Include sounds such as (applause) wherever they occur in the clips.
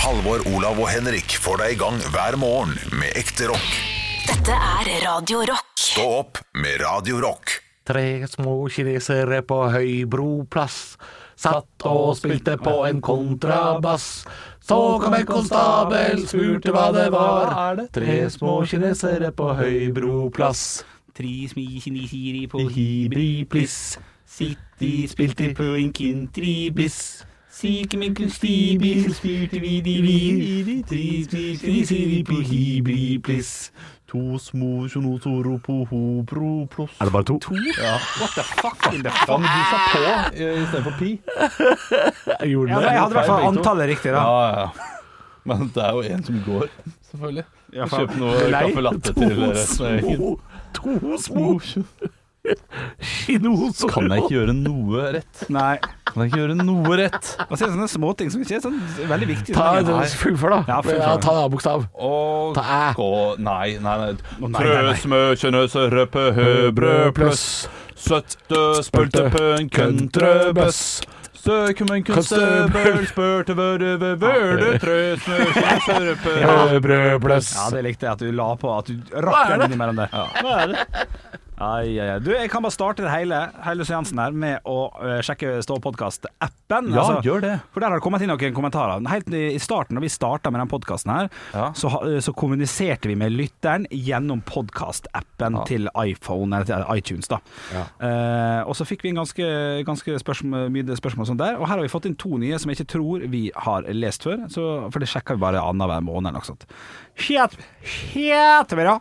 Halvor, Olav og Henrik får deg i gang hver morgen med ekte rock. Dette er Radio Rock. Stå opp med Radio Rock. Tre små kinesere på Høybroplass satt og spilte på en kontrabass. Så kom en konstabel, spurte hva det var. Tre små kinesere på Høybroplass. Tri smi kini siri på I hibripliss, City spilte på en kintribiss. Sike min kustibil spurte vi de vi Tri smi kini siri på hibripliss. To små kjonotoro på hoproplås. Er det bare to? What the fuck in the Ja, fuck? men du sa på eh, istedenfor pi. Jeg gjorde Ja, men det. jeg hadde i hvert fall Begge to. antallet riktig, da. Ja, ja. Men det er jo en som går, selvfølgelig. Ja, faen. Kjøp noe Nei, Oh, caffè latte (laughs) til resten av gjengen. To små, to små Kan kinoser. jeg ikke gjøre noe rett? Nei. Kan jeg ikke gjøre noe rett? Og så er det sånne småting som ikke er sånn veldig viktige. Ta Sånn, den, nei. fullfør, da. Ja, fullfør. Ja, ta en A-bokstav. Og Ta æ. gå Nei, nei, nei. nei, Frø, nei. smø, kjønøse, røpe, høbrø, pløss. Søtte, spølte, pøn, køntrøbøss. Støkummen, kunstøbøl, spørte, vørde, vørde, trø, smø, kjønøse, røpe, Høbrødbløss. Ja, det likte jeg at du la på. At du rakk den innimellom der. Hva er det? Ai, ai, ai. Du, jeg kan bare starte det hele, hele seansen her med å eh, sjekke Ståpodkast-appen. Altså, Ja, gjør det. For der har det kommet inn noen kommentarer. Helt i i starten, da vi starta med den podkasten her, Ja. så, ha- eh, så kommuniserte vi med lytteren gjennom podkast-appen til iPhone, eller til iTunes, da. Eh, og så fikk vi inn ganske, ganske spørsmål, mye spørsmål og sånt der. Og her har vi fått inn to nye som jeg ikke tror vi har lest før, så, for det sjekker vi bare annenhver måned eller noe sånt. Helt, helt bra!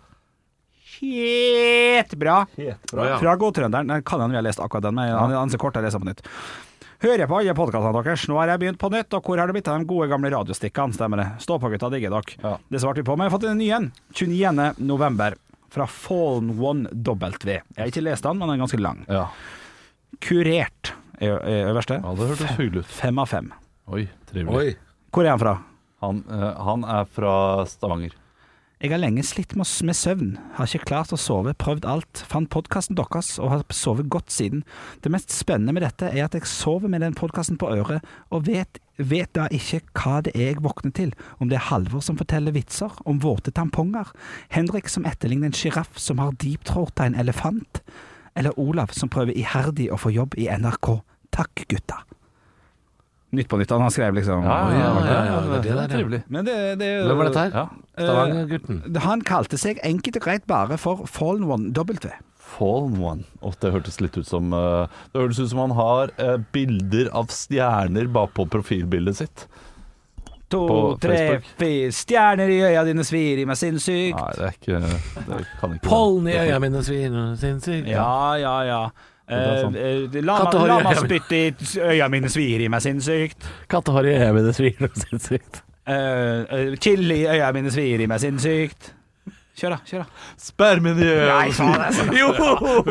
Helt bra! Fra Godtrønderen. Den kan hende vi har lest akkurat den, men han, han ser kort jeg leser på nytt. Hører jeg på alle podkastene deres. Nå har jeg begynt på nytt, og hvor har det blitt av de gode gamle radiostikkene? Stemmer det. Stå på, gutta, digger dere. Ja. Det svarte vi på, men jeg har fått en ny en. 29. november. Fra Fallen One W. Jeg har ikke lest den, men den er ganske lang. Ja. Kurert er ø- er øverste. Ja, det hørtes hyggelig ut. Fem av fem. Oi, trivelig. Oi. Hvor er han fra? Han, eh, han er fra Stavanger. Jeg har lenge slitt med, med søvn, har ikke klart å sove, prøvd alt. Fant podkasten deres og har sovet godt siden. Det mest spennende med dette er at jeg sover med den podkasten på øret, og vet, vet da ikke hva det er jeg våkner til. Om det er Halvor som forteller vitser, om våte tamponger, Henrik som etterligner en sjiraff som har deepthroat av en elefant, eller Olav som prøver iherdig å få jobb i NRK. Takk, gutta. Nytt på nytt, han har skrevet liksom det er det der, ja. trivelig. Men det, det er jo Hvem var dette her? Ja. Eh, Stavanger-gutten. han kalte seg enkelt og greit bare for Fallen One W. Fallen One. Og det hørtes litt ut som eh, Det hørtes ut som han har eh, bilder av stjerner bakpå profilbildet sitt. To, På tre, Facebook. fire Stjerner i øya dine svir i meg sinnssykt. Nei, det er ikke Det kan ikke Pollen i øya mine svir, sinnssykt. Ja, ja, ja. er sant. Eh, eh, la meg- Kattehår i la øya meg mine. spytte i s- øya mine svir i meg sinnssykt. Kattehår i øya mine svir, sinnssykt. Eh, eh, chili i øya mine svir i meg sinnssykt. Kjør, da. kjør da Spermen i Eh, øya! Nei, faen, det (laughs) er sånn. Jo!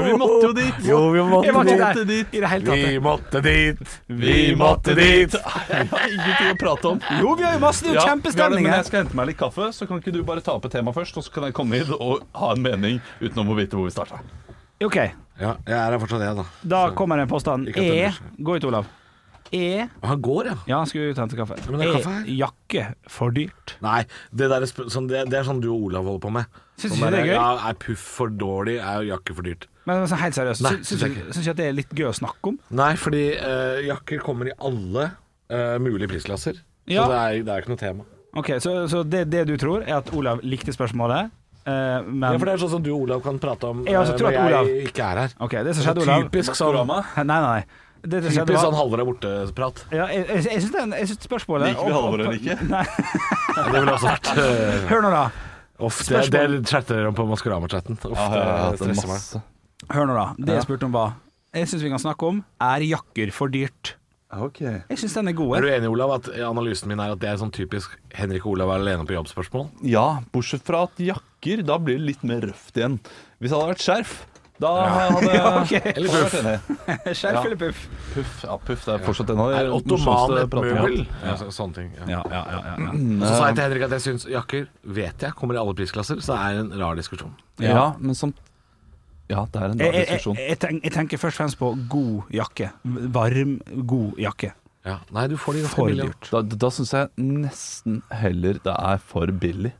Vi måtte jo dit. Jo, vi Jeg var måtte dit. ikke der i det hele tatt. måtte dit. Vi måtte dit! Jeg har ingenting å prate om. Jo, vi har jo masse det er jo vi har det, kjempestemning men her. jeg skal hente meg litt kaffe, så kan ikke du bare ta opp et tema først, og så kan jeg komme hit og ha en mening utenom å vite hvor vi starta. OK, Ja, jeg er her fortsatt, jeg, da. da kommer en påstand. Ikke at det E blir så- Gå ut, Olav. E Han går, ja. Ja, han skulle ut og hente kaffe. men det er kaffe her. E jakke for dyrt. Nei, det, der er sp sånn, det, det er sånn du og Olav holder på med. Syns Sånn ikke det der, er gøy? Ja, er puff for dårlig, er jakke for dyrt? Men altså, helt seriøst, Nei, syns- syns syns jeg du syns du at det er litt gøy å snakke om? Nei, fordi eh, jakker kommer i alle eh, mulige prisklasser. Ja. Så det er, det er ikke noe tema. Ok, Så, så det, det du tror, er at Olav likte spørsmålet, eh, men Ja, for det er sånn som du og Olav kan prate om Jeg også eh, tror når at Olav- jeg ikke er her. Ok, det som skjedde, Olav Typisk sånn, Nei, nei. Det, som skjedde, typisk sånn var, Halvor er borte-prat. ja, jeg jeg, jeg syns den- jeg syns spørsmålet Liker vi Halvor eller ikke? Nei, Ja, Det ville også vært eh, (laughs) hør nå, da. Uff, det, det Spørsmål. chatter dere om på Maskorama-chatten. Uff, Ja, jeg har det hatt en stresser meg. masse. Hør nå da Det jeg spurte om, var Jeg syns vi kan snakke om Er jakker for dyrt? Okay. Jeg syns den er Er god. du enig, Olav, at analysen min er at det er sånn typisk Henrik og Olav er alene på jobbspørsmål? Ja, bortsett fra at jakker, da blir det litt mer røft igjen. Hvis det hadde vært skjerf, da hadde (laughs) Ja, ok. Eller puff. Skjerf eller puff? Puff, ja, puff det er fortsatt en av de Er ottoman morsomste et pratene. møbel? Ja, så, sånne ting. Ja. Ja, ja, ja, ja, ja. Mm. Og så sa jeg til Henrik at jeg syns jakker vet jeg, kommer i alle prisklasser, så det er en rar diskusjon. Ja, men som Ja, det er en Jeg, rar jeg, jeg, diskusjon. jeg, tenk, jeg tenker først og fremst på god jakke. Varm, god jakke. Ja. Nei, du får de ganske For billig. dyrt. Da, da syns jeg nesten heller det er for billig.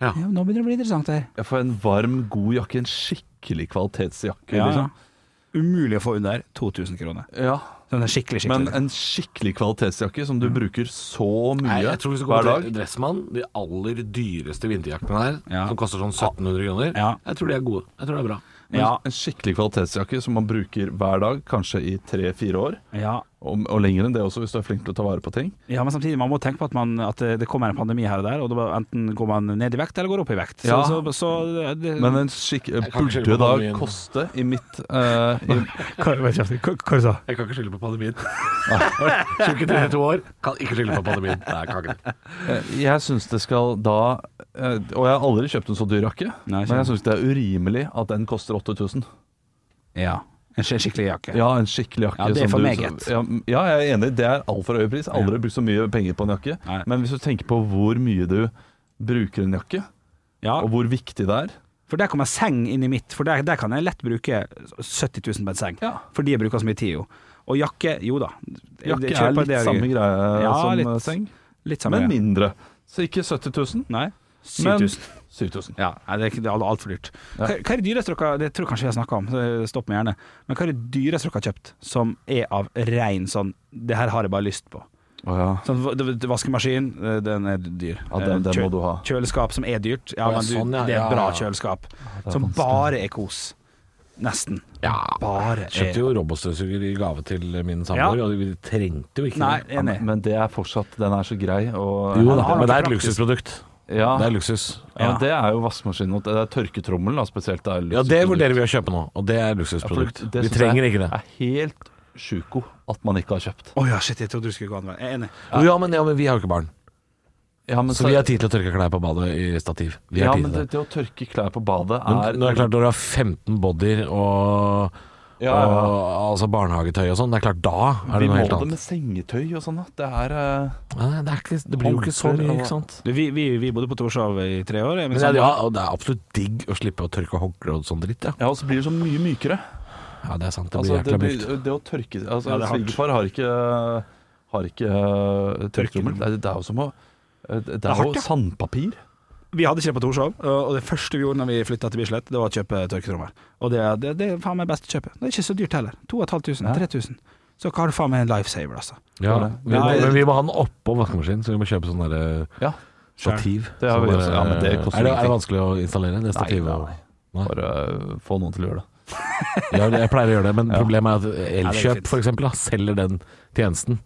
Ja. Ja, nå begynner det å bli interessant her. Jeg får en varm, god jakke, en skikkelig kvalitetsjakke. liksom. sånn? Umulig å få under 2000 kroner. ja. Sånn er skikkelig, Men skikkelig. en skikkelig kvalitetsjakke som du bruker så mye Nei, jeg tror hvis du hver går dag til Dressmann, de aller dyreste vinterjaktene her, Ja. som koster sånn 1700 kroner, Ja. jeg tror de er gode. Jeg tror det er bra. ja, En skikkelig kvalitetsjakke som man bruker hver dag, kanskje i tre-fire år. ja, Og, og lenger enn det også, hvis du er flink til å ta vare på ting. ja, men samtidig, man må tenke på at, man, at eh, det kommer en pandemi her og der, og da bare enten går man ned i vekt eller går opp i vekt. Så, Ja. så, så eh, det, Men eh, en skikk kan ikke skylde burde på da pandemien. koste i mitt eh, i, Hva hva du sa du? Jeg kan ikke skylde på (laughs) pandemien. Sjuk i tre-to år, kan ikke skylde på pandemien. Nei, kan ikke det. Eh, Jeg syns det skal da eh, Og jeg har aldri kjøpt en så dyr jakke, Nei, men jeg syns det er urimelig at den koster 8000. Ja. En skik- skikkelig jakke. (laughs) Ja, en skikkelig jakke. Ja, det er som for du- meget. Ja, m- ja, jeg er enig, det er altfor høy pris. Jeg har Aldri brukt så mye penger på en jakke. Nei. Men hvis du tenker på hvor mye du bruker en jakke, Ja, og hvor viktig det er For der kommer seng inn i mitt, for der, der kan jeg lett bruke 70 000 på en seng. Ja. Fordi jeg bruker så mye tid, jo. Og jakke, jo da. Jeg- Jakke jeg er kjøper litt det jeg- samme greie Ja, som litt. eh, seng, Litt samme men greie. mindre. Så ikke 70 000, Nei. men 7000. 7000. Mm. Ja, nei, det er ikke- det er altfor dyrt. Hva, hva er det dyreste dere Det tror jeg kanskje vi har snakka om, så stopp meg gjerne. Men hva er det dyreste dere har kjøpt som er av rein sånn Det her har jeg bare lyst på. Å ja. Sånn, v- det- det- vaskemaskin, eh, den er dyr. Ja, den- den Eh, kjø- må du ha. Kjøleskap som er dyrt. Ja, Å, ja, men du, sånn, ja, det er ja, et bra ja. kjøleskap. Som bare er kos. Nesten. Ja, Bare er kjøpte jo robotstøvsuger i gave til min samboer, Ja. og vi trengte jo ikke Nei, det. enig. Men det er fortsatt Den er så grei. Og, Jo, Han har men nok det er et praktisk. luksusprodukt. ja, Det er luksus. ja, Ja. det er jo vaskemaskinen. og Det er tørketrommelen da, spesielt. Det er Ja, det luksusprodukt. vurderer vi å kjøpe nå, og det er Altså Ja, for luksusprodukt. det Vi synes trenger jeg ikke det. er helt sjuko at man ikke har kjøpt. Å ja, shit, jeg trodde du skulle gå andre veien. Jeg er enig. Jo, Ja, men, ja, men vi har jo ikke barn, Ja, men, så vi har tid til å tørke klær på badet i stativ. Vi ja, har men tid til det, det. det å tørke klær på badet er Men nå er det klart, når du har 15 bodyer og, Ja, ja. og altså barnehagetøy og sånn, det er klart da Vi er det må noe helt det annet. med sengetøy og sånn. da. Det er eh, Nei, det, er ikke, det blir jo ikke så Håndklær mye, og- ikke sant. Du, vi, vi, vi bodde på Torshov i tre år. jeg, Men Min ja, samboer. ja, og det er absolutt digg å slippe å tørke håndkle og sånn dritt, ja. Ja, og så blir det så mye mykere. Ja, det er sant. Det Altså, blir det, jækla blir, mykt. det å tørke altså, Ja, det er hardt. Svigerfar har ikke, har ikke eh, tørketrommel. Det, er- det er jo som å eh, Det, det er hardt, ja. jo sandpapir. Vi hadde ikke det på Torshov, og og det første vi gjorde når vi flytta til Bislett, det var å kjøpe tørketrommel. Og det, det, det er faen meg best å kjøpe. Det er ikke så dyrt heller. 2500, 3000. Så hva har du faen meg en lifesaver, altså? Ja, det. vi må, Nei, men vi må ha den oppå vaskemaskinen, så vi må kjøpe sånn derre Ja, stativ. Det har vi Sånn også. der- Ja, men det koster er, det, er det ingenting. vanskelig å installere det Nei, stativet? nei. Bare eh, få noen til å gjøre det. Ja, det- jeg pleier å gjøre det, men problemet er at Ja, det er Elkjøp fint. f.eks. selger den tjenesten.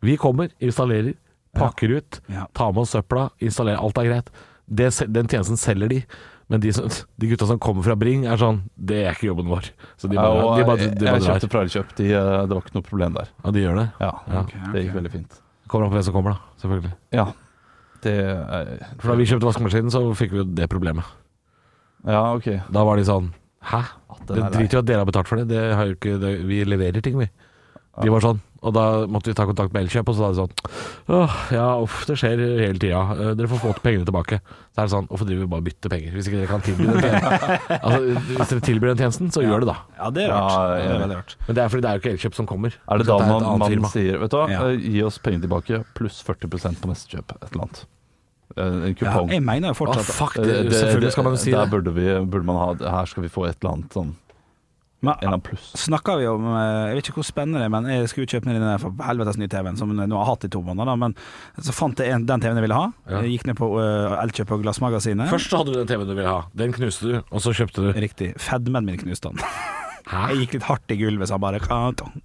Vi kommer, installerer, pakker ut, Ja. tar med oss søpla, installerer. Alt er greit. Det, se- den tjenesten selger de, men de, som, de gutta som kommer fra Bring, er sånn Det er ikke jobben vår. Så de bare, Ja, og de bare, de bare jeg drar. kjøpte pralekjøp. De, eh, det var ikke noe problem der. Ja, de gjør det. Ja, ok, Det gikk ok. veldig fint. Kommer an på hvem som kommer, da. Selvfølgelig. Ja. Det er- For da vi kjøpte vaskemaskinen, så fikk vi jo det problemet. Ja, OK. Da var de sånn Hæ? den Det er lei. driter jo at dere har betalt for det. det, har jo ikke, det vi leverer ting, vi. De var sånn. Og da måtte vi ta kontakt med Elkjøp, og så sa de sånn Åh, ja, uff, det skjer hele tida. Eh, Dere får få pengene tilbake. Så er det sånn Hvorfor driver vi bare og bytter penger? Hvis ikke dere kan tilby den tjenesten. altså, hvis dere tilbyr den tjenesten, så gjør det, da. Ja, det er Ja, rart. ja, Det ja. er veldig rart. Men det er fordi det er jo ikke Elkjøp som kommer. Er det Så da et man, annet man firma. sier Vet du hva, Ja. eh, gi oss penger tilbake pluss 40 på neste kjøp. Et eller annet. Eh, En Ja, kupong. jeg mener jo Å, fortsatt fuck, Eh, det, selvfølgelig skal man jo si der det. Burde, vi, burde man ha Her skal vi få et eller annet sånn En eller Men annen pluss. snakka vi om eh, Jeg vet ikke hvor spennende det er, men jeg skulle jo kjøpe meg den der for helvetes nye TV-en som jeg nå har hatt i to måneder, da. Men så fant jeg en, den TV-en jeg ville ha. Ja. Jeg gikk ned på uh, Elkjøp og Glassmagasinet. Først så hadde du den TV-en du ville ha. Den knuste du, og så kjøpte du Riktig. Fedmen min knuste han. Hæ? Jeg gikk litt hardt i gulvet, så han bare «Katong».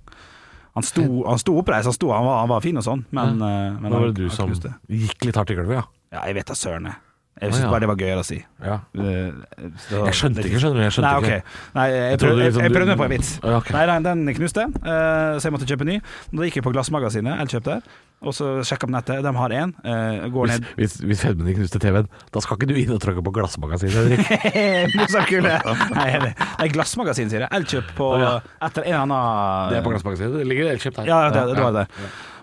Han sto, han sto oppreist, han, sto- han, var- han var fin og sånn, men, eh, men Nå var han- det du han som knuste. gikk litt hardt i gulvet, ja. Ja, jeg vet da søren, jeg. Jeg Å, syntes ja. bare det var gøyere å si. ja. Jeg Jeg skjønte ikke, skjønner du. Jeg skjønte Nei, ikke. ok. Nei, jeg, Jeg trodde prøvde, jeg, liksom jeg du- prøvde meg på en vits. Ja, ok. Nei, nei, den knuste, eh, så jeg måtte kjøpe ny. Da gikk jeg på Glassmagasinet, Elkjøp der, og så sjekka på nettet. De har én. Går (laughs) Hvis, ned hvis, hvis fedmen din knuste TV-en, da skal ikke du inn og tråkke på glassmagasinet, Henrik. Morsakule! Nei, jeg- nei, Glassmagasin, sier jeg. Elkjøp på Å, Etter en eller annen glassmagasinet. Det ligger elkjøpt her. Ja, ja, det, det var det.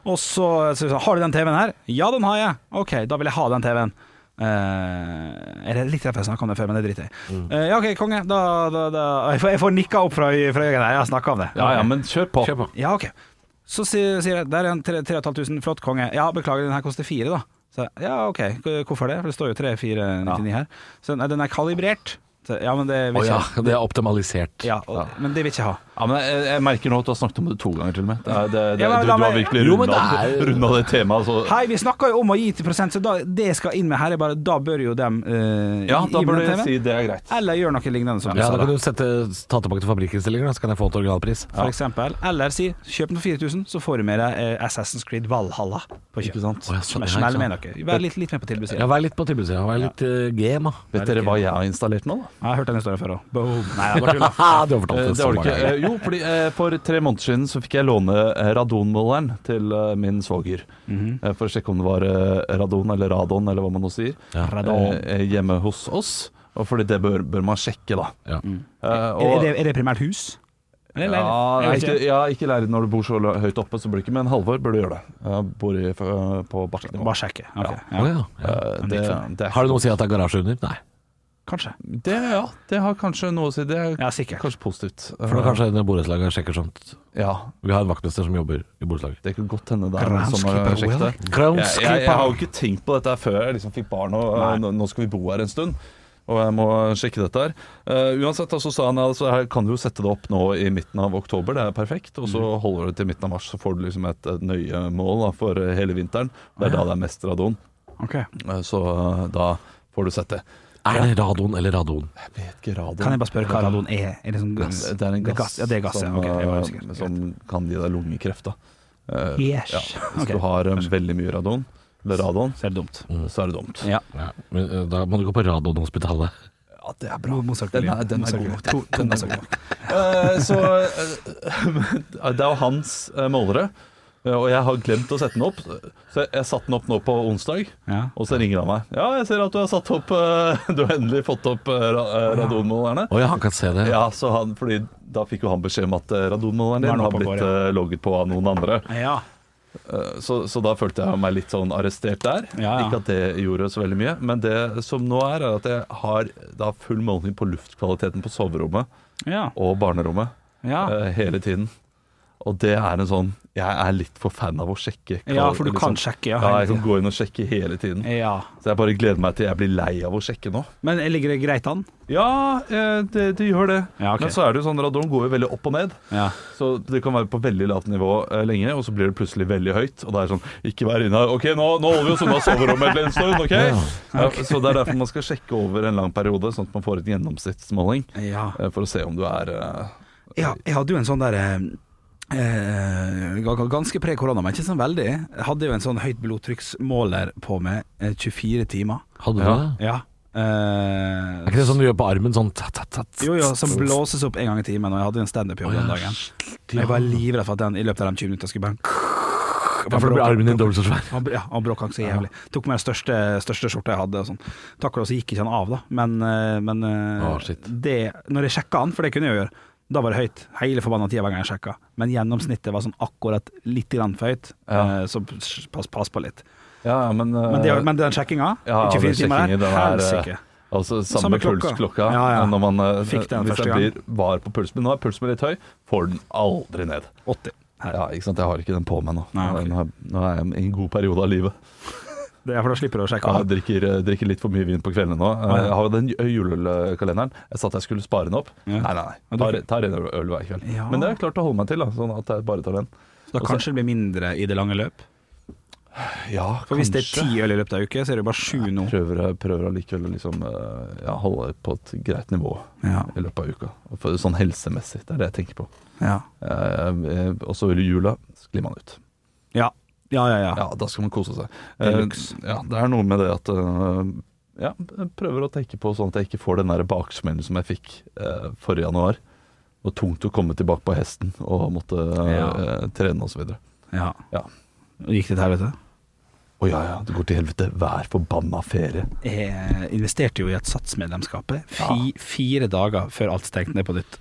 Og så sier vi sånn Har du den TV-en her? Ja, den har jeg. Ok, da vil jeg ha den TV-en. Eh, er det litt rett jeg snakka om det før, men det driter jeg i. Eh, ja, ok, konge. Da, da, da. Jeg, får, jeg får nikka opp fra, øy- fra øynene. her. Jeg har snakka om det. Ja ja, men kjør på. Kjør på. Ja, ok. Så sier, sier jeg der er en 3500, flott konge. Ja, beklager, den her koster fire, da. Så jeg, ja, OK, K- hvorfor det? For det står jo 3499 her. Så nei, den er kalibrert. Så, ja, men det Å vil ikke ja, jeg det er optimalisert. ja, og, Men det vil ikke jeg ha. Ja, men jeg, jeg merker nå at du har snakket om det to ganger til og med. Det, er- det, det, Ja, men du, la du har meg- virkelig Jo, men runda det er- runda det temaet. Så. Hei, vi snakker jo om å gi til prosent, så da, det skal inn med her. Er bare, da bør jo dem eh, Ja, i- da i bør med du TV. si det er greit. Eller gjør noe lignende som du Ja, sa, Da da, kan du sette, ta tilbake til fabrikkinnstillinger, da, så kan jeg få et originalpris. for eksempel. Eller si kjøp den for 4000, så får du med deg eh, Assassin's Creed Valhalla på kjøp. Å, ja, sånn, ja, ikke Smell med sant. noe. Vær litt, litt med på tilbudet. Ja, Vær litt på tilbudssida. Vær litt eh, (laughs) game, da. Vet dere hva jeg har installert nå, da? Jeg har hørt den historien før òg. (laughs) Boom. Nei, det var tull. da. Haha, (laughs) du har fortalt Eh, det Det så var det mange ikke. ganger. Eh, Jo, fordi eh, for tre måneder siden så fikk jeg låne eh, radonmåleren til eh, min svoger. Mhm. Eh, For å sjekke om det var eh, radon eller radon, eller hva man nå sier, Ja. Radon. eh, eh, hjemme hos oss. Og fordi det bør, bør man sjekke, da. Ja. Eh, Mm. Er og- det, er det primært hus? Ja, Eller leilighet? nei, Jeg vet ikke, ja, ikke leilighet når du bor så la- høyt oppe, så burde du ikke, men Halvor burde gjøre det. Jeg bor i, f- eh, på ikke. barsel. Bare sjekke. Ok, ja. Å, ja. Ja. Eh, det, det, Har det noe å si at det er garasje under? Nei. Kanskje. det, ja, det har kanskje noe å si. Det er Ja, sikkert. kanskje positivt. For da Eh, kanskje en i borettslaget sjekker sånt. Ja, Vi har en vaktmester som jobber i borettslaget. det kan godt hende det er noen Grand som har Skipper sjekket det. Jeg, jeg, jeg har jo Crownskipper. ikke tenkt på dette her før jeg liksom fikk barn og Nei. eh, nå- nå skal vi bo her en stund. Og jeg må sjekke dette her. Eh, uansett, da, så sa han altså, her kan du jo sette det opp nå i midten av oktober, det er perfekt. Og så Mm. holder du det til midten av mars, så får du liksom et, et nøye mål da, for eh, hele vinteren. Det er da det er mest radon. Ok. Eh, så eh, da får du sette. Er det radon eller radon? Jeg vet ikke radon. Kan jeg bare spørre hva radon er? Er det sånn gass? Det er en gass, Ja, det er gass, som, ja. Ok, jeg var eh, usikker. Greit. som kan gi deg lungekreft. Da. Eh, Yes. ja. Hvis Ok. du har eh, veldig mye radon, eller radon, Så er det dumt. så er det dumt. Ja. Ja, men eh, da må du gå på Radonhospitalet. Ja, det er Bra. Den er, den er god nok. Den er god nok. Eh, så eh, (laughs) men Det er jo hans eh, målere, eh, og jeg har glemt å sette den opp. Så jeg, jeg satte den opp nå på onsdag, Ja. og så ringer han meg. 'Ja, jeg ser at du har satt opp eh, (laughs) Du har endelig fått opp eh, ra- eh, radonmålerne'. Å ja, han kan se det. Ja, så han, fordi Da fikk jo han beskjed om at eh, radonmåleren Nå er den din har oppe og blitt går, eh, logget på av noen andre. ja. Eh, Så, så da følte jeg meg litt sånn arrestert der. Ja, ja. Ikke at det gjorde så veldig mye. Men det som nå er, er at jeg har da full måling på luftkvaliteten på soverommet Ja. og barnerommet ja. eh, hele tiden. Og det er en sånn Jeg er litt for fan av å sjekke. Ja, for du liksom- kan sjekke, Ja, ja, hele jeg kan tiden. gå inn og sjekke hele tiden. ja. Så jeg bare gleder meg til jeg blir lei av å sjekke nå. Men ligger det greit an? Ja, eh, det, det gjør det. Ja, ok. Men så er det jo sånn radon går jo veldig opp og ned. Ja. Så det kan være på veldig lavt nivå eh, lenge, og så blir det plutselig veldig høyt. Og det er sånn Ikke vær inne her. OK, nå, nå holder vi oss unna soverommet en stund, OK? (laughs) Ja, så det er derfor man skal sjekke over en lang periode, sånn at man får en gjennomsnittsmåling. Ja. eh, For å se om du er eh, Ja, jeg hadde jo en sånn der eh, eh, ga- Ganske pre-korona, men ikke sånn veldig. Jeg hadde jo en sånn høyt blodtrykksmåler på meg eh, 24 timer. Hadde du Ja. det? Ja. Er ikke det sånn du gjør på armen? Sånn tatt, tatt, tatt. Jo, jo, som blåses opp en gang i timen. Og jeg hadde jo en standup-jobb den dagen. Og jeg var livredd for at den i løpet av de 20 minuttene skulle bare Ja, for da blir armen din dobbelt så svær. Han, br- ja, han bråka så jævlig. Tok med den største, største skjorta jeg hadde. Og sånn. Takk for det, så gikk ikke han av, da. Men, eh, men eh, Å, shit. det, når jeg sjekka han, for det kunne jeg jo gjøre, da var det høyt. Hele forbanna tida hver gang jeg sjekka. Men gjennomsnittet var sånn akkurat litt grann for høyt, Ja. eh, så pass, pass på litt. Ja, men, eh, Men, det, men den sjekkinga, ja, i 24 den timer sjekkingen, eh, der, den er, helsike. Altså samme, Samme klokka. pulsklokka. Ja, ja. Når man eh, Fikk den Hvis første jeg gang. blir var på pulsen min nå, er pulsen min litt høy, får den aldri ned. 80. Her. Ja, ikke sant. Jeg har ikke den på meg nå. Nei, ok. Nå er- Nå er jeg i en god periode av livet. Det er for da slipper du å sjekke. Ja, av. jeg drikker, jeg drikker litt for mye vin på kveldene nå. Eh, ja. Jeg har jo den julekalenderen. Jeg sa at jeg skulle spare den opp. Ja. Nei, nei, Ja, nei. du- Tar, tar en øl hver kveld. Ja. Men det har jeg klart å holde meg til, da, sånn at jeg bare tar den. Så da kanskje det blir mindre i det lange løp. Ja, For hvis det er ti øl i løpet av ei uke, så er det jo bare sju nå. Prøver, jeg- prøver allikevel å liksom, eh, ja, holde det på et greit nivå Ja. i løpet av uka. Og for- Sånn helsemessig, det er det jeg tenker på. Ja. Eh, eh, Og så i jula sklir man ut. Ja. Ja, ja, ja. Ja, da skal man kose seg. Det er Eh, luks. Ja, det er noe med det at eh, ja, jeg prøver å tenke på sånn at jeg ikke får den der baksmellen som jeg fikk eh, forrige januar. Og tungt å komme tilbake på hesten og måtte eh, Ja. eh, trene osv. Å ja. Ja. Gikk det til helvete? ja, ja, det går til helvete hver forbanna ferie. Jeg eh, investerte jo i et satsmedlemskapet fi, fire dager før alt stengte ned på nytt.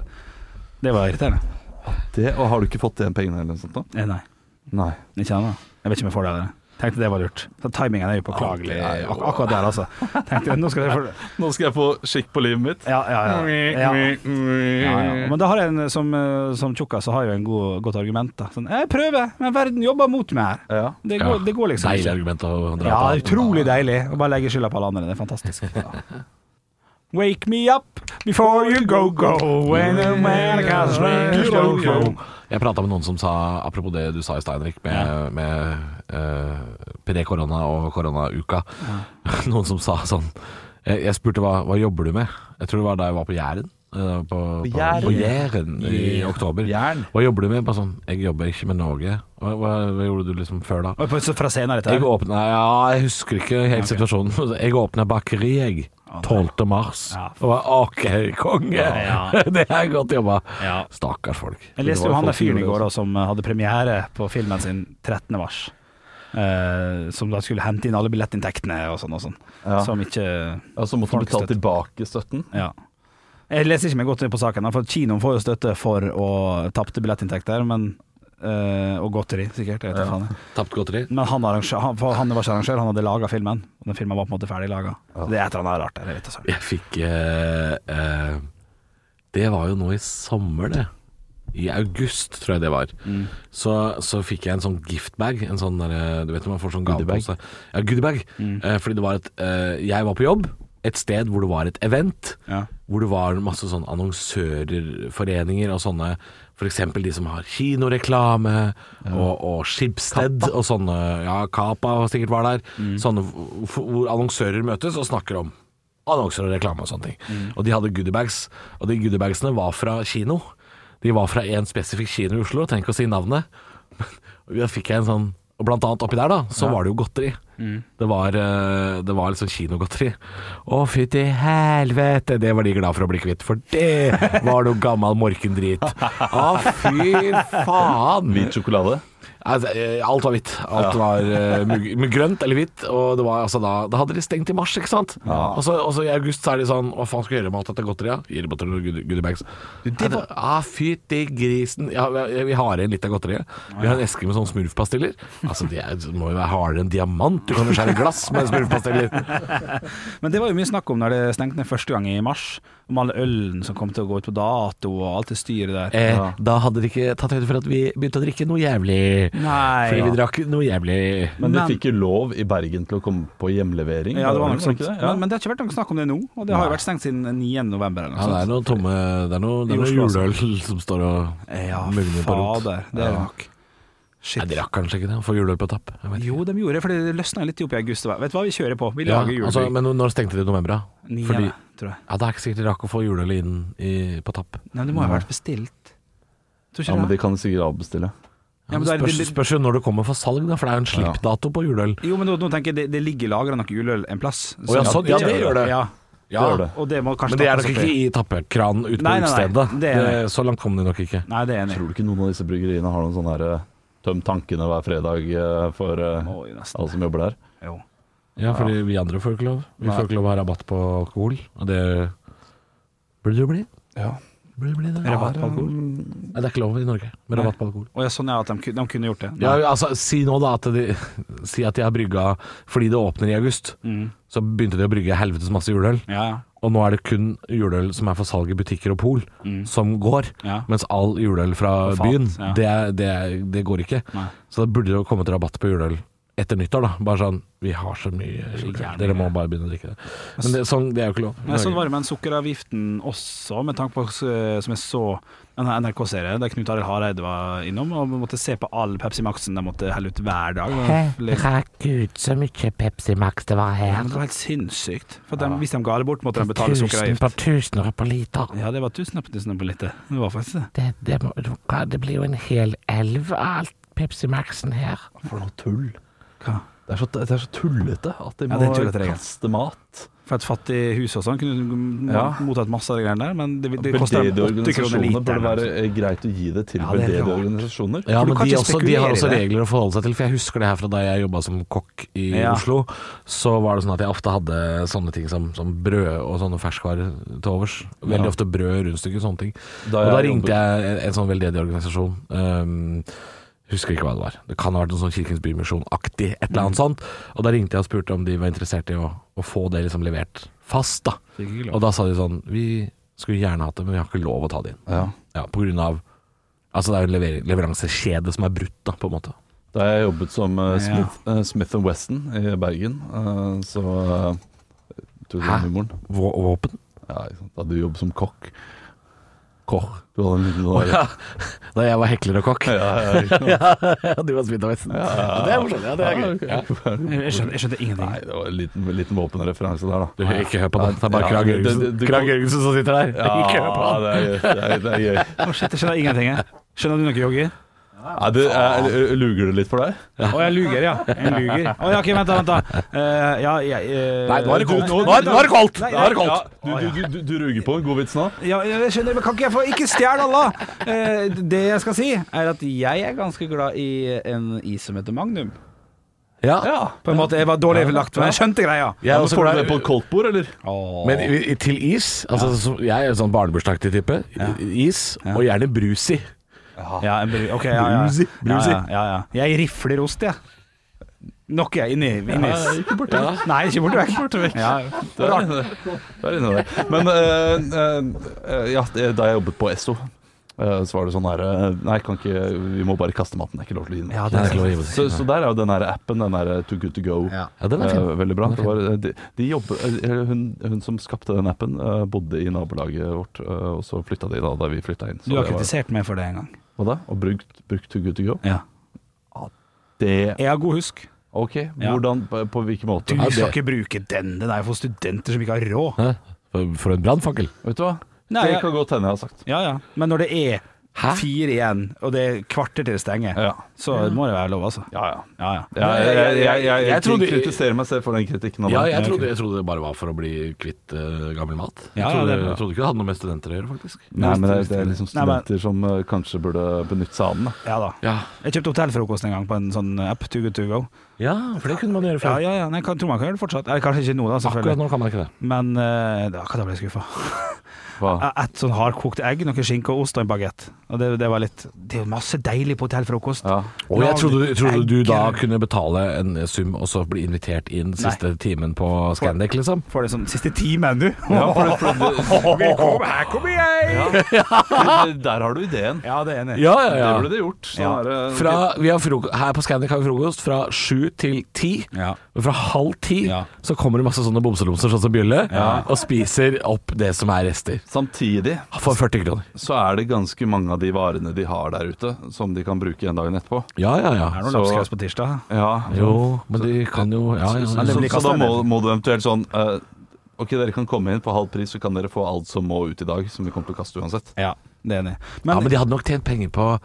Det var irriterende. Det, og har du ikke fått igjen pengene eller noe sånt? da? Eh, nei, Nei. ikke ennå. Jeg vet ikke om jeg får det heller. Tenkte det var lurt. Så timingen er jo påklagelig ak akkurat der, altså. Tenkte nå skal jeg få Nå skal jeg få skikk på livet mitt. ja, ja, ja. ja. Ja, ja. Men da har jeg en som, eh, som tjukkas, så har jeg jo en god, godt argument. da sånn, Jeg prøver, men verden jobber mot meg her. Ja. Det, går, det går liksom Deilig ikke. argument å dra Ja, på. utrolig deilig å bare legge skylda på alle andre. Det er fantastisk. Ja. Wake me up before you go go when a man comes round, go, go. Jeg prata med noen som sa, apropos det du sa i Steinrik, med, med eh, pre-korona og koronauka, (laughs) noen som sa sånn Jeg, jeg spurte hva, hva jobber du med? Jeg tror det var da jeg var på Jæren. eh, På, på, Jæren? på Jæren i oktober. Jæren. Hva jobber du med? Bare sånn, jeg jobber ikke med Norge. Hva, hva, hva gjorde du liksom før da? Og på- så Fra scenen dette Jeg her. åpna Ja, jeg husker ikke helt situasjonen. Jeg åpna bakeri, jeg. 12. mars. Ja. Og var akerkonge. Ja, (laughs) Det er godt jobba. Ja. Stakkars folk. Jeg leste jo han der fyren i går da, som eh, hadde premiere på filmen sin 13. mars. Eh, som da skulle hente inn alle billettinntektene og sånn og sånn. Ja. Som ikke Ja, så måtte du betale Folkestøtte. tilbake støtten. Ja. Jeg leser ikke meg godt inn på saken, for kinoen får jo støtte for å tapte billettinntekter, men eh, og godteri, sikkert. Jeg vet ikke faen. jeg. Tapt godteri. Men han, arrangør, han, for han var ikke arrangør, han hadde laga filmen. Og den filmen var på en måte ferdig laga. Det er et eller annet rart der. Jeg vet ikke, søren. Jeg fikk eh, eh, Det var jo nå i sommer, det. I august, tror jeg det var. Mm, Så, så fikk jeg en sånn giftbag. En sånn der, eh, du vet når man får sånn gavepose. Ja, goodiebag. Eh, fordi det var et eh, Jeg var på jobb et sted hvor det var et event. Ja. Hvor det var masse sånn annonsørerforeninger og sånne F.eks. de som har kinoreklame og, og Skibsted og sånne Ja, Kapa sikkert var der. Sånne f- f- hvor annonsører møtes og snakker om annonser og reklame og sånne ting. Og de hadde goodiebags, og de goodiebagsene var fra kino. De var fra en spesifikk kino i Oslo, trenger ikke å si navnet. Og Da fikk jeg en sånn og Blant annet oppi der, da, så var det jo godteri. Det, var, eh, det var liksom kinogodteri. Å, fytti helvete! Det var de glad for å bli kvitt, for det var noe gammal morkendrit. Å, fy faen! Hvit sjokolade. Altså, eh, alt var hvitt. Alt var eh, mug- mug- grønt eller hvitt. Og det var, altså, da, da hadde de stengt i mars, ikke sant? Og, så, og så i august så er de sånn Hva faen skal vi gjøre med alt dette godteriet? Gir bort noen goodie- goodiebags. Ja, det- Ah, Fytti grisen. Ja, vi vi har igjen litt av godteriet. Vi har en eske med sånne smurfpastiller. Altså, det er, må jo være hardere enn diamant. Du kan jo skjære glass (laughs) med smurfpastiller. Men det var jo mye snakk om når det stengte ned første gang i mars, om all ølen som kom til å gå ut på dato, og alt det styret der. Eh, Da hadde de ikke tatt høyde for at vi begynte å drikke noe jævlig. Nei. Fordi vi drakk noe jævlig Men de Men- fikk jo lov i Bergen til å komme på hjemlevering. Ja, det var nok ikke sånt. Men, men det har ikke vært noe snakk om det nå, og det har jo vært stengt siden 9. november eller noe ja, det sånt. er noe tomme Det er noe, det er I noe Oslo, altså. juleøl som står og Ja, mugner på rot. fader. Det er det nok. Nei, de rakk kanskje ikke det, å få juleøl på tapp. Jeg vet ikke. Jo, de gjorde det, for det løsna litt opp i august. Vet du hva, vi kjører på. Vi Ja, lager altså, julebygg. men når stengte de i november, da? Niende, fordi- tror jeg. Ja, Det er ikke sikkert de rakk å få juleøl inn i, på tapp. Nei, men det må jo ha vært bestilt. Tror ikke Ja, men det? de kan sikkert avbestille. Ja, men da er det- spørs, spørs jo når det kommer for salg, da, for det er jo en slippdato på juleøl. Jo, men nå, nå tenker jeg det, det ligger lagra noe juleøl en plass. Å, ja, Så- sånn. Ja, det gjør det. Ja, Ja, gjør det. og det må kanskje Men det er tappes nok opp ikke i- i tappekran ute på Nei, nei, nei, utestedet. det er Det- Så langt kom de nok ikke. Nei, det er jeg enig. i. Tror du ikke noen av disse bryggeriene har noen sånn her eh, Tøm tankene hver fredag eh, for eh, Må jo nesten. alle som jobber der? Jo. Ja, fordi vi andre får ikke lov. Vi får ikke lov å ha rabatt på alkohol, og det burde det jo bli. Ja. Burde det bli det. Rabatt på alkohol? Nei, det er ikke lov i Norge med rabatt på alkohol. Å ja, sånn ja, at de, ku- de kunne gjort det. Ja, altså, si nå da at de, Si at de har brygga fordi det åpner i august. Så begynte de å brygge helvetes masse juleøl. Mm. Ja, ja. Og nå er det kun juleøl som er for salg i butikker og pol, som går. Ja. Mens all juleøl fra Og fat, byen, Mm. ja. det, er- det, er- det går ikke. Nei. Så da burde det jo kommet rabatt på juleøl etter nyttår, da. Bare sånn Vi har så mye juleøl, dere må bare begynne å drikke det. Men det, sånn, det er jo ikke lov. Men sånn var det med den sukkeravgiften også, med tanke på eh, som jeg så en NRK-serie der Knut Arild Hareide var innom og måtte se på all Pepsi Max-en de måtte helle ut hver dag. Det var- Drakk ut så mye Pepsi Max det var Ja, her. men det var helt sinnssykt. For de, Hvis de ga det bort, måtte de betale Tusen sukkeravgift. på tusener på liter. Ja, det var tusen på tusen på lite. Det var faktisk det. Det, det, må- du kan- det blir jo en hel elv av alt Pepsi Maxen her. For noe tull. Hva? Det er så, det er så tullete at de Ja, må det er tullete regel. kaste mat. For et fattig hus og sånn kunne m- Ja. mottatt masse av de greiene der, men det, det koster Veldedige 80 kroner organisasjoner burde literen. være altså. eh, greit å gi det til Ja, det er veldedige rart. organisasjoner. Ja, For du men kan de, ikke også, de har spekulere i også det. regler å forholde seg til, for jeg husker det her fra da jeg jobba som kokk i Ja. Oslo. Så var det sånn at jeg ofte hadde sånne ting som, som brød og sånne ferskvarer til overs. Veldig ofte brød, rundstykker, sånne ting. Da og da jeg ringte jeg en, en sånn veldedig organisasjon. Um, Husker ikke hva det var. Det kan ha vært noe sånn Kirkens Bymisjon-aktig, et eller annet sånt. Og da ringte jeg og spurte om de var interessert i å, å få det liksom levert fast, da. Fikk ikke lov. Og da sa de sånn Vi skulle gjerne hatt det, men vi har ikke lov å ta det inn. Ja. Ja, på grunn av Altså det er jo en lever leveransekjede som er brutt, da, på en måte. Da jeg jobbet som eh, Ja. Smith, eh, Smith Weston i Bergen, eh, så eh, tok jeg Hæ? den humoren. Vå- Våpen? Ja, ikke sant? Da hadde du jobb som kokk. Kokk. Du hadde en liten Å, sånn ja. Da jeg var hekler og kokk. ja, ja, ikke sant? du var smitt av vesten. Det er morsomt. Ja, det er gøy. Ja. Jeg skjønner, jeg skjønner Nei, ingenting. det var en liten, liten våpenreferanse der, da. Du, ikke hør på det. Det er bare Ja, Krag det- det- Jørgensen det- Krag Jørgensen som sitter der. Ikke hør på Ja, han. det er gøy. Det er, det er gøy. Å, shit, jeg skjønner ingenting. jeg. Skjønner du noe, Joggi? Ja, det, er, luger det litt for deg? Å, jeg luger, ja. Jeg luger. Å, ja, ok, vent da, vent da. Eh, ja, jeg eh, Nei, nå er det Du- koldt. nå- Nå er, nå er det koldt! Nei, Nå er det Ja, koldt. du, du, du, du, du ruger på en god vits nå? Ja, jeg skjønner, men kan ikke jeg få Ikke stjel alle! Eh, det jeg skal si, er at jeg er ganske glad i en is som heter Magnum. Ja. På en måte, Jeg var dårlig lagt, men jeg skjønte greia. Jeg Ja, er men også får du glad- det på et koldtbord, eller? Men i- i- til is altså, så- Jeg er en sånn barnebursdagsaktig type. Is, og gjerne brus i. Ja, en bru, ok, ja, ja. Brusi, brusi. Ja, ja, ja, ja. Jeg rifler ost, jeg. Nok, jeg. Inni inni is. ikke borte. Ja. Nei, ikke borte vekk. Borte vekk. Ja, Du er inne der. Du er inne der. Men eh, eh, ja, det- da jeg jobbet på Esso, eh, så var det sånn her eh, Nei, kan ikke, vi må bare kaste maten. Det er ikke lov til å gi den. ja Det det er er ikke lov å gi på Så, så seg. der er jo den her appen, den her eh, Too Good To Go. Ja. Ja, den er fin. Eh, veldig bra. Den er Det var, eh, de, de jobber, eh, hun, hun som skapte den appen, eh, bodde i nabolaget vårt, eh, og så flytta de da da vi flytta inn. Så Du har det var- kritisert meg for det en gang. Hva da? Og brukt, brukt Too Good To Go? Ja. Det Jeg har god husk. OK, Ja. hvordan? På, på hvilken Du måte? Ja, det- skal ikke bruke den. Den er jo for studenter som ikke har råd. Hæ? For- For en brannfakkel. Vet du hva? Nei, det jeg- kan godt hende jeg har sagt. Ja, ja. Men når det er fire igjen, og det er kvarter til det stenger, Ja, så må det være lov, altså. ja. ja. Ja, ja. Ja, jeg, jeg, jeg, jeg, jeg, Jeg trodde- kritiserer meg selv for den kritikken. av Ja, meg. jeg trodde, jeg trodde det bare var for å bli kvitt eh, gammel mat. Jeg Ja, ja, trodde, det er bra. jeg trodde ikke det hadde noe med studenter å gjøre, faktisk. Nei, men det, det er liksom Nei, men- studenter som eh, kanskje burde benytte seg av den. da. Ja da. Ja. Jeg kjøpte hotellfrokost en gang på en sånn app, Too Good To Go. ja, for det kunne man gjøre Ja, før. ja, ja. Nei, jeg kan- tror man kan gjøre det fortsatt. Eller kanskje ikke nå, da, Akkurat selvfølgelig. nå kan man ikke det. Men eh, da- akkurat da ble jeg skuffa. Hva? Et sånn hardkokt egg, noe skinke og ost og en bagett. Og det, det var litt Det er jo masse deilig på hotellfrokost. Ja. Og jeg trodde, trodde du da Egg. kunne betale en sum og så bli invitert inn siste timen på Scandic, liksom? For det sånn siste timen, du. Ja, for det- for (laughs) Velkommen, her kommer jeg! Ja, det- (laughs) Der har du ideen. det er enig. Ja, ja, Det ja. burde det gjort. Sånn Ja. er det. Fra, vi har froko- her på Scandic har vi frokost fra sju til ti. Ja. Og fra halv ti Ja. så kommer det masse sånne bomselomser, sånn som Bjølle, og spiser opp det som er rester. Samtidig For 40 kroner. så er det ganske mange av de varene de har der ute, som de kan bruke en dag etterpå. Ja, ja, ja. Er det noe Så- lapskaus på tirsdag? Ja. Jo, men de kan jo Ja, ja. Så, ja. så, blir så da kastet må, må du eventuelt sånn eh, Ok, dere kan komme inn på halv pris, så kan dere få alt som må ut i dag, som vi kommer til å kaste uansett. Ja, det er enig. ja men de hadde nok tjent penger på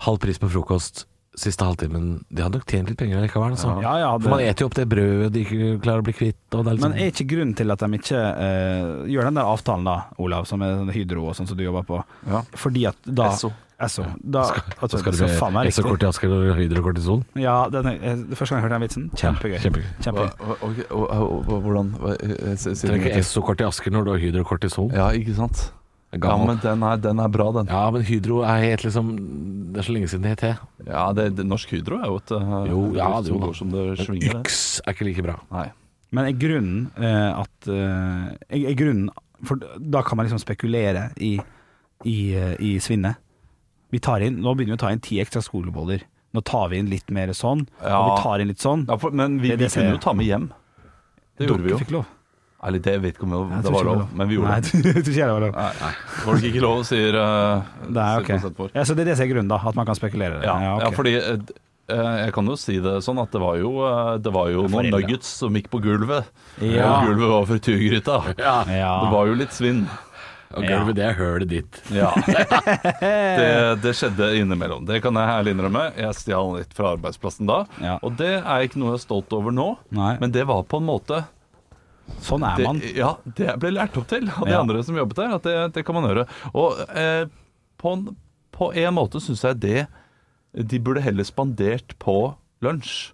halv pris på frokost siste halvtimen. De hadde nok tjent litt penger likevel, altså. Ja, ja, det- For man eter jo opp det brødet de ikke klarer å bli kvitt, og det er Men liksom er ikke grunnen til at de ikke eh, gjør den der avtalen da, Olav, som er den Hydro og sånn som du jobber på, Ja. fordi at da Esso. Esso. Da, at, Så skal det så altså, faen meg bli riktig. SO-kort i Asker og hydrokortison. Ja, den er, eh, første gang jeg hørte den vitsen. Kjempegøy. Ja, kjempegøy. Kjempegøy. Hva- hva- ok, og- og- og- Hvordan hva- eh, eh, si- si det Trenger en ikke gang til. SO-kort i Asker når du har hydrokortison. Ja, ikke sant? Ja, Gammel. men den er, den er bra, den. Ja, men Hydro er helt liksom Det er så lenge siden det het det. Ja, det, det, Norsk Hydro er jo et eh, Jo, ja, bedrift det er som jo- går som det Men svinger. det. Yx er ikke like bra. Nei. Men er grunnen eh, at eh, er, er grunnen For da kan man liksom spekulere i, i, eh, i svinnet. Vi tar inn, nå begynner vi å ta inn ti ekstra skoleboller. Nå tar vi inn litt mer sånn, og Ja. vi tar inn litt sånn. Ja, for, men vi, Det- vi det ser kunne jo jeg. ta med hjem. Det gjorde vi jo. Dere fikk lov. Eller det vet ikke om det, Jeg det tror var ikke lov, men vi gjorde Nei, (laughs) det. jeg tror ikke det var lov. Nei, nei. Folk ikke lov, sier uh, Det er ok. Ja, så det er det som er grunnen, da? At man kan spekulere? i det. Ja, ok. ja, fordi eh, d- eh, jeg kan jo si det sånn at det var jo, eh, det var jo noen foreldre. nuggets som gikk på gulvet. Ja. Og gulvet var frityrgryta. ja. Det var jo litt svinn. Og Ja. gulvet, det er hølet ditt. (laughs) Ja. Det, det skjedde innimellom. Det kan jeg ærlig innrømme. Jeg stjal litt fra arbeidsplassen da. Ja. Og det er ikke noe jeg er stolt over nå, Nei. men det var på en måte Sånn er det, man. Ja, det ble lært opp til av de Ja. andre som jobbet der, at det, det kan man gjøre. Og eh, på, en, på en måte syns jeg det De burde heller spandert på lunsj.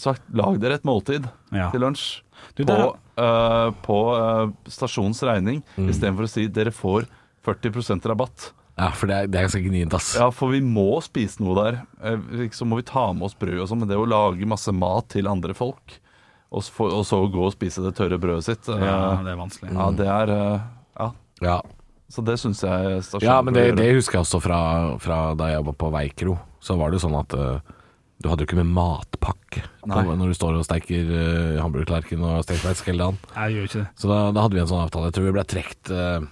Sagt lag dere et måltid Mm. Ja. til lunsj Du, på, der- Mm. eh, på eh, stasjonens regning, istedenfor å si dere får 40 rabatt. Ja, for det er, det er ganske gnient, ass. Ja, for vi må spise noe der. Eh, Så må vi ta med oss brød og sånn, men det å lage masse mat til andre folk, og så, og så gå og spise det tørre brødet sitt eh, Ja, det er vanskelig. Mm. ja, det er eh, Ja. Ja. Så det syns jeg stasjonen Ja, men bør det, gjøre. det husker jeg også fra, fra da jeg var på Veikro. Så var det jo sånn at eh, du hadde jo ikke med matpakke Nei. på, når du står og steiker uh, hamburgertallerken og stekefleisk hele dagen. Nei, jeg gjør ikke det. Så da, da hadde vi en sånn avtale. Jeg tror vi ble trukket eh,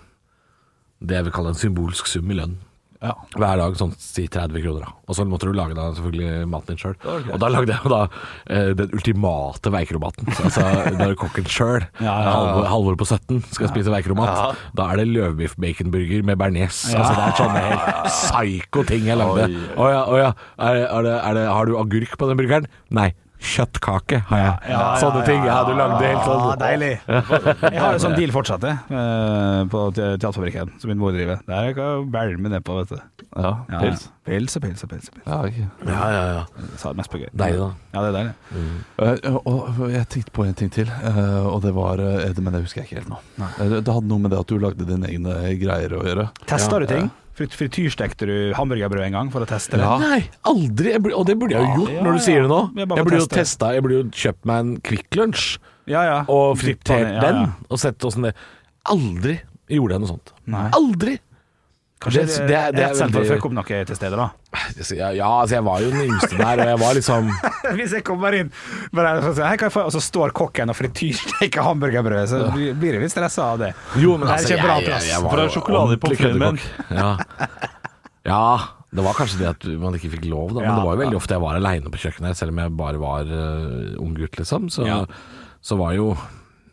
det jeg vil kalle en symbolsk sum i lønn. Ja. Hver dag sånn si 30 kroner, da. Og så måtte du lage da selvfølgelig maten din sjøl. var greit. Og da lagde jeg jo da eh, den ultimate Veikro-maten. Så, Altså når kokken sjøl, (laughs) Halvor, Halvor på 17, skal spise Veikro-mat, da er det løvbiff-baconburger med bearnés. Altså det er sånne helt psycho ting jeg lagde. Oi. Å ja, å ja. Er, det- er det, er det, har du agurk på den burgeren? Nei. Kjøttkake har jeg. Sånn Sånne ting. Ja, du lagde helt sånn. Ah, deilig. Jeg har jo sånn deal fortsatt, jeg, eh, på te- Teaterfabrikken, som min mor driver. Der kan jeg bælme nedpå, vet du. ja. Ja, Pils. ja. Pils og pils og pils. og pils. Ja, ok. Ja, ja, ja. Jeg Sa det mest på gøy. Deilig, da. Ja, det er deilig. Eh, og jeg tenkte på en ting til, eh, og det var eh, det- Men det husker jeg ikke helt nå. Eh, Det det hadde noe med det at du lagde dine egne greier å gjøre. Testa du ting? Frit- Frityrstekte du hamburgerbrød en gang for å teste det? Ja. Nei, aldri. Jeg burde, og det burde jeg jo gjort Ja, når du ja. sier det nå. Jeg Jeg, bare får burde jo teste. testa, jeg burde jo kjøpt meg en Kvikk Lunsj Ja, ja. og fritert Dyppet ned, ja, den ja. og sett åssen det Aldri gjorde jeg noe sånt. Nei. Aldri! Kanskje Det- det, det er- det er rett selv for å veldig- fucke opp noe til stede, da. (laughs) Ja, ja, altså jeg var jo den yngste der, og jeg var liksom Hvis jeg kommer inn bare, sånn, så, sier jeg, «Hei, hva får jeg?» og så står kokken og frityrsteker hamburgerbrød, så blir blir jeg litt stressa av det. Jo, Det men er altså, jeg, kjempebra, jeg, Andreas. jeg var For det er jo sjokolade i ordentlig pommes frites, køddekokk. Ja. ja, det var kanskje det at man ikke fikk lov, da. Men Ja. det var jo veldig ofte jeg var aleine på kjøkkenet, her, selv om jeg bare var eh, ung gutt, liksom. Så, Ja. så var jo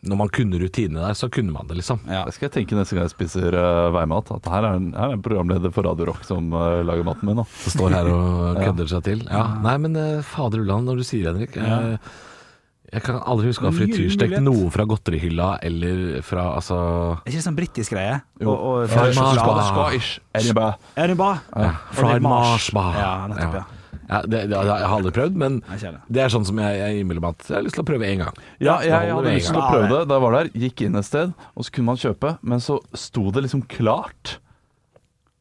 Når man kunne rutinene der, så kunne man det, liksom. Det skal jeg tenke neste gang jeg spiser eh, veimat. At her er en, her er en programleder for Radio Rock som eh, lager maten min. Da. som står her og kødder seg til. Ja. Nei, men eh, fader ulland når du sier det, Henrik. Jeg, jeg kan aldri huske å ha Mye frityrstekt mulighet. noe fra godterihylla eller fra altså Er ikke det sånn britisk greie? Og, og Fried Mars sjokolade. Bar. Er det bra? Og Fried litt Mars Bar. Ja, nettopp, ja. Ja, det, det, jeg har aldri prøvd, men Jeg kjenner. det er sånn som jeg, jeg innbiller meg at jeg har lyst til å prøve en gang. Ja, jeg, Da holder hadde det lyst en til å gang. prøve det da jeg var der. Gikk inn et sted, og så kunne man kjøpe, men så sto det liksom klart.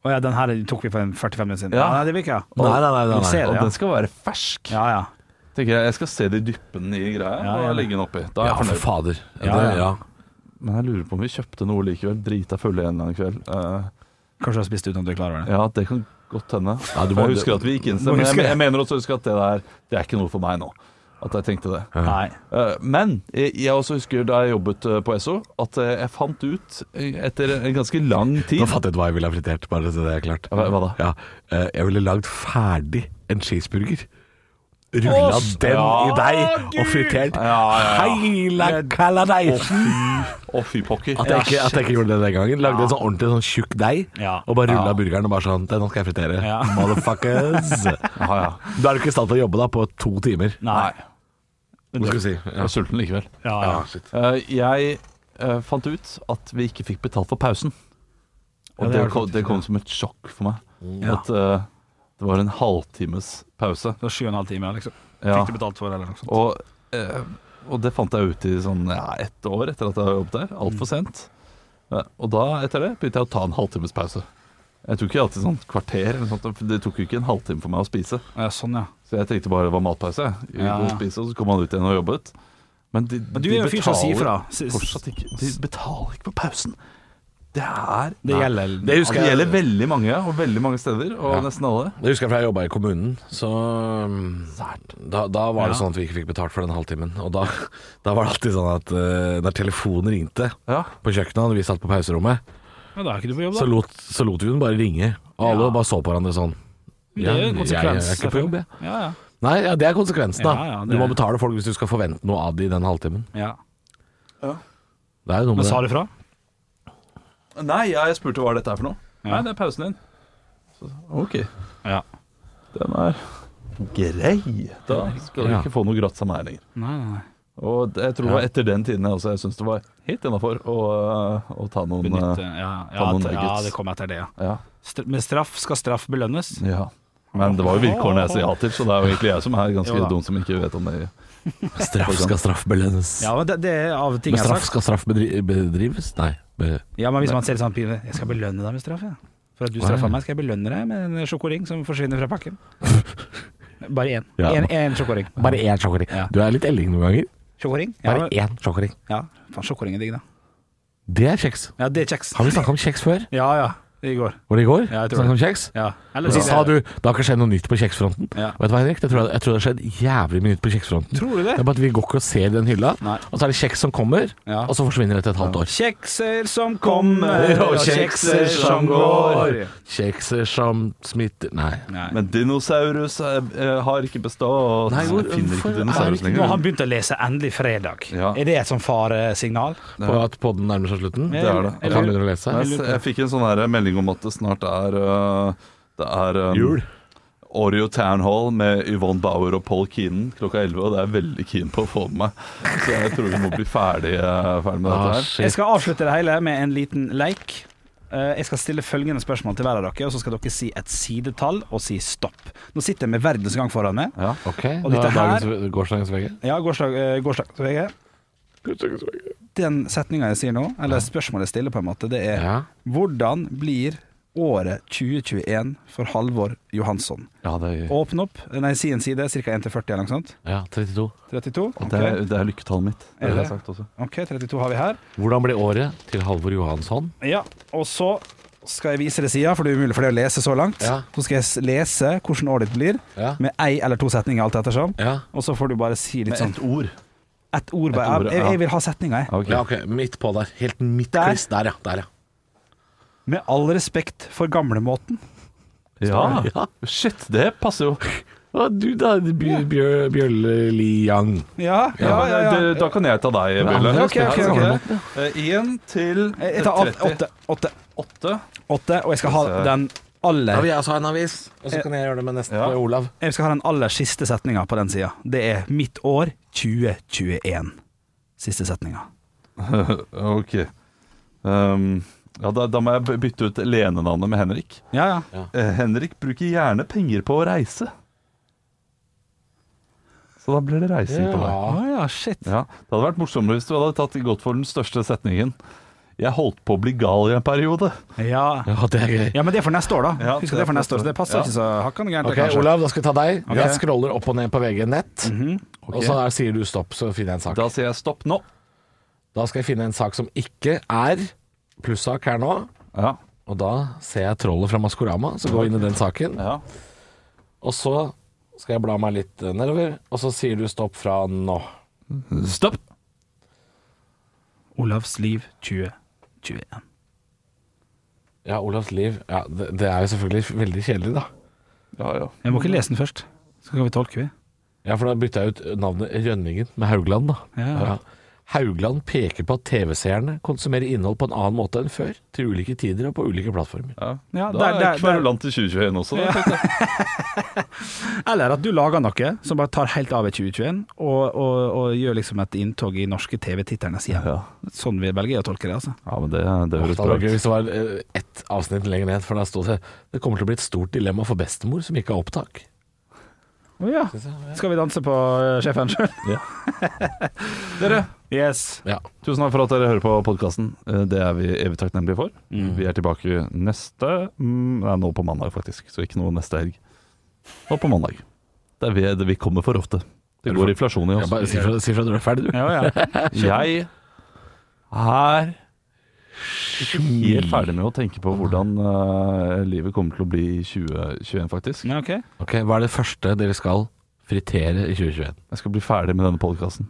Å ja, den her tok vi for en 45 minutter siden. Ja, Ja. nei, det vil ikke jeg. Nei, nei, nei. nei, Du ser nei. det, Og ja. den skal være fersk. Ja, ja. Tenker jeg, jeg skal se de dyppene i greia Ja, ja. og legge den oppi. Da er Ja, jeg for fornøyd. fader. Ja, ja. det, ja. Men jeg lurer på om vi kjøpte noe likevel. Drita fulle en eller annen kveld. Eh, Kanskje du har spist uten at du er klar over det. ja, det kan godt hende. Ja, du må- For jeg husker at vi gikk inn et sted, Må men huske jeg, det. jeg mener også å huske at det der, det er ikke noe for meg nå. At jeg tenkte det. Nei. Eh, Men jeg jeg også husker da jeg jobbet eh, på SO, at eh, jeg fant ut eh, etter en ganske lang tid Nå fattet jeg ut hva jeg ville ha fritert, bare så det er klart. Hva- hva da? Ja, eh, jeg ville lagd ferdig en cheeseburger. Rulla den i deig og fritert Ja, ja, ja. hele kaladeisen. Å, fy pokker. At jeg, ikke, at jeg ikke gjorde det den gangen. Lagde en sånn ordentlig sånn tjukk deig, Ja. og bare rulla Ja. burgeren og bare sånn Den skal jeg fritere. Ja. (laughs) Motherfuckers. Ja, ja. Da er du ikke i stand til å jobbe da på to timer. Nei. Hva skal du si? Jeg Ja. var sulten likevel. Ja, ja. Eh, jeg eh, fant ut at vi ikke fikk betalt for pausen. Og Ja, det det, er det kom, faktisk, det kom som et sjokk for meg. Ja. At eh, det var en halvtimes pause. Det var sju og en halv time, liksom. Ja. Fikk du betalt for det, eller noe sånt? Og, eh, og det fant jeg ut i sånn ja, ett år etter at jeg hadde jobbet der. Mm. Altfor sent. Eh, og da, etter det, begynte jeg å ta en halvtimes pause. Jeg tok ikke alltid sånn kvarter, eller sånt, for det tok jo ikke en halvtime for meg å spise. Ja, sånn, ja. Så jeg tenkte bare det var matpause. Jeg Ja. ja. spise, og så kom han ut igjen og jobbet. Men, de, Men du er jo en fyr som sier fra. S- s- fortsatt ikke De betaler ikke på pausen. Det er Det gjelder Det husker det jeg. gjelder veldig mange, og veldig mange steder, og Ja. nesten alle. Det husker jeg fra jeg jobba i kommunen. Så um, da, da var det sånn at vi ikke fikk betalt for den halvtimen. Og da, (laughs) da var det alltid sånn at uh, når telefonen ringte Ja. på kjøkkenet, og vi satt på pauserommet, Ja, da er ikke du på jobb, så da. lot, så lot vi den bare ringe. Og alle Ja. bare så på hverandre sånn. Det er jo «Ja, en jeg, jeg konsekvens. er ikke på jobb, jeg. Ja, ja. Nei, ja, det er konsekvensen, da. Ja, ja, det du må er- betale folk hvis du skal forvente noe av det i den halvtimen. ja. Det er jo noe Men med sa det. du fra? Nei, ja, jeg spurte hva dette er for noe. Ja. Nei, det er pausen din. Så, OK. Ja. Den er grei. Da skal du Ja. ikke få noe gratis av meg lenger. Nei, nei, nei. Og det- jeg tror det var etter den tiden jeg også jeg syntes det var helt innafor å, øh, å ta noen Benytte øh, eh, Ja, ja, Ta noen at- ja nuggets. det kom etter det, ja. Ja. Str med straff skal straff belønnes. Ja. Men det var jo vilkårene jeg sier ja til, så det er jo egentlig jeg som er Jo ganske da. dum som ikke vet om det. Straff skal straffbelønnes. Ja, men det, det er av ting Men jeg har straff sagt. skal straff bedri bedrives? Nei. Be Ja, men hvis man ser sånn pinlig Jeg skal belønne deg med straff, ja. For at du straffa meg, skal jeg belønne deg med en sjokoring som forsvinner fra (laughs) pakken. Bare én. Ja. Én én sjokoring. Bare én sjokoring. Ja. Du er litt elling noen ganger. Sjokoring? Ja, Bare én sjokoring. ja. Faen, sjokoring er digg, da. Det er kjeks. Ja, det er kjeks. Har vi snakka om kjeks før? Ja ja, i går. Var det i går? Ja, jeg tror Snakket det. om kjeks? Ja. Eller Og så sist- sa du det har ikke skjedd noe nytt på kjeksfronten. Ja. Vet du hva, Henrik? Det tror jeg, jeg tror det har skjedd jævlig mye nytt på kjeksfronten. Tror du det? Det er bare at vi går ikke og ser den hylla, Nei. og så er det kjeks som kommer, Ja. og så forsvinner det etter et halvt år. Kjekser som kommer, og kjekser som går. Kjekser som smitter Nei. Nei. Men dinosaurus eh, eh, har ikke bestått. Nei, hvor- Jeg finner hvorfor ikke er det dinosaurus ikke- Nå har lenger. han begynt å lese 'Endelig fredag'. Ja. Er det et sånn faresignal? På at podden nærmer seg slutten? Det er det. At han begynner å lese? Nei, jeg, jeg fikk en sånn her melding om at det snart er øh, Det er um, Oreo Town Hall med Yvonne Bauer og Paul Keenan klokka 11. Og det er jeg veldig keen på å få med meg. Så jeg tror vi må bli ferdig, øh, ferdig med Ah, dette her. shit. Jeg skal avslutte det hele med en liten leik. Eh, Jeg skal stille følgende spørsmål til hver av dere, og så skal dere si et sidetall og si stopp. Nå sitter jeg med verdens gang foran meg. Ja. Ok, Og da dette er her- dagens gårsdagens VG. Ja, gårsdag, eh, gårsdag så jeg er- Den setninga jeg sier nå, eller spørsmålet jeg stiller, på en måte, det er Ja. Hvordan blir året 2021 for Halvor Johansson? Ja, det, er, Åpne opp, eh, nei, si en side, ca. 1 til 40 eller noe sånt. ja, 32. 32? det, Ok, er, det er lykketallet mitt. Er Det har det? jeg sagt også. ok, 32 har vi her. Hvordan ble året til Halvor Johansson? Ja, og så skal jeg vise deg sida, for det er umulig for deg å lese så langt. Ja. Så skal jeg s- lese hvordan året ditt blir, Ja. med ei eller to setninger alt ettersom. Ja. Og så får du bare si litt Med sånn ett ord. Ett ord, bare. ord, jeg, ja. jeg vil ha setninga, jeg. Ok. ja, ok. Midt på der. Helt midt Der. kliss. Der, ja. Der, ja. Med all respekt for gamlemåten. Ja. Shit, det passer jo. Å, du da, Bjørle Liang. Ja, ja, ja. ja, eh, Det, da kan jeg ta deg, Bjelle. Ok, ok, ok. Én Eh, til Jeg jeg tar åtte, 38. åtte, åtte, åtte, og jeg skal ha Skal vi se. den Da aller vil jeg også ha altså en avis, og så kan jeg gjøre det med neste Ja. med Olav. Jeg skal ha den aller siste setninga på den sida. Det er 'Mitt år 2021'. Siste setninga. Ok. Um, ja, da, da må jeg b- bytte ut lenenavnet med Henrik. Ja, ja. Eh, Henrik bruker gjerne penger på å reise. Så da blir det reising på deg. Å ja, shit. Ja, det hadde vært morsommere hvis du hadde tatt godt for den største setningen. Jeg holdt på å bli gal i en periode. Ja. Ja, det er gøy. ja, men det er for neste år, da. Ja, Husk at det er for neste år, så det Ja. passer ikke så hakkande gærent. Ok, det, kanskje. Olav, da skal vi ta deg. Ok. Jeg scroller opp og ned på VG nett, og så der sier du stopp, så finner jeg en sak. Da sier jeg stopp nå. Da skal jeg finne en sak som ikke er plussak her nå, Ja, og da ser jeg trollet fra Maskorama, så går jeg inn i den saken, ja. og så skal jeg bla meg litt eh, nedover, og så sier du stopp fra nå. Stopp. Olavs liv 2021. Ja, Olavs liv. Ja, det, det er jo selvfølgelig veldig kjedelig, da. Ja, ja. Jeg må ikke lese den først. Så kan vi tolke, vi. Ja, for da bytta jeg ut navnet Rønningen med Haugland, da. Ja. Haugland peker på at TV-seerne konsumerer innhold på en annen måte enn før, til ulike tider og på ulike plattformer. ja. Ja, Da der- er jeg der- der- kverulant i 2021 også. da, tenkte jeg. Eller at du lager noe som bare tar helt av i 2021, og, og, og gjør liksom et inntog i norske TV-titterne sider. Ja. Sånn vi velger å tolke det, altså. Ja, men det, det høres Det bra var gøy ut. hvis det var eh, ett avsnitt lenger ned, for der sto det det kommer til å bli et stort dilemma for bestemor som ikke har opptak. Å ja. Skal vi danse på eh, sjefen sjøl? (laughs) Ja. Dere, Yes. Ja. tusen takk for at dere hører på podkasten. Det er vi evig takknemlige for. Vi er tilbake neste mm, Nei, nå på mandag, faktisk. Så ikke noe neste helg. Nå på mandag. Det er vi, det, vi kommer for ofte. Det går inflasjon i Jeg oss. bare si fra, si fra når du er ferdig, du. Ja, ja. Jeg er helt ferdig med å tenke på hvordan eh, livet kommer til å bli i 2021, faktisk. ja ok. Ok, Hva er det første dere skal fritere i 2021? Jeg skal bli ferdig med denne podkasten.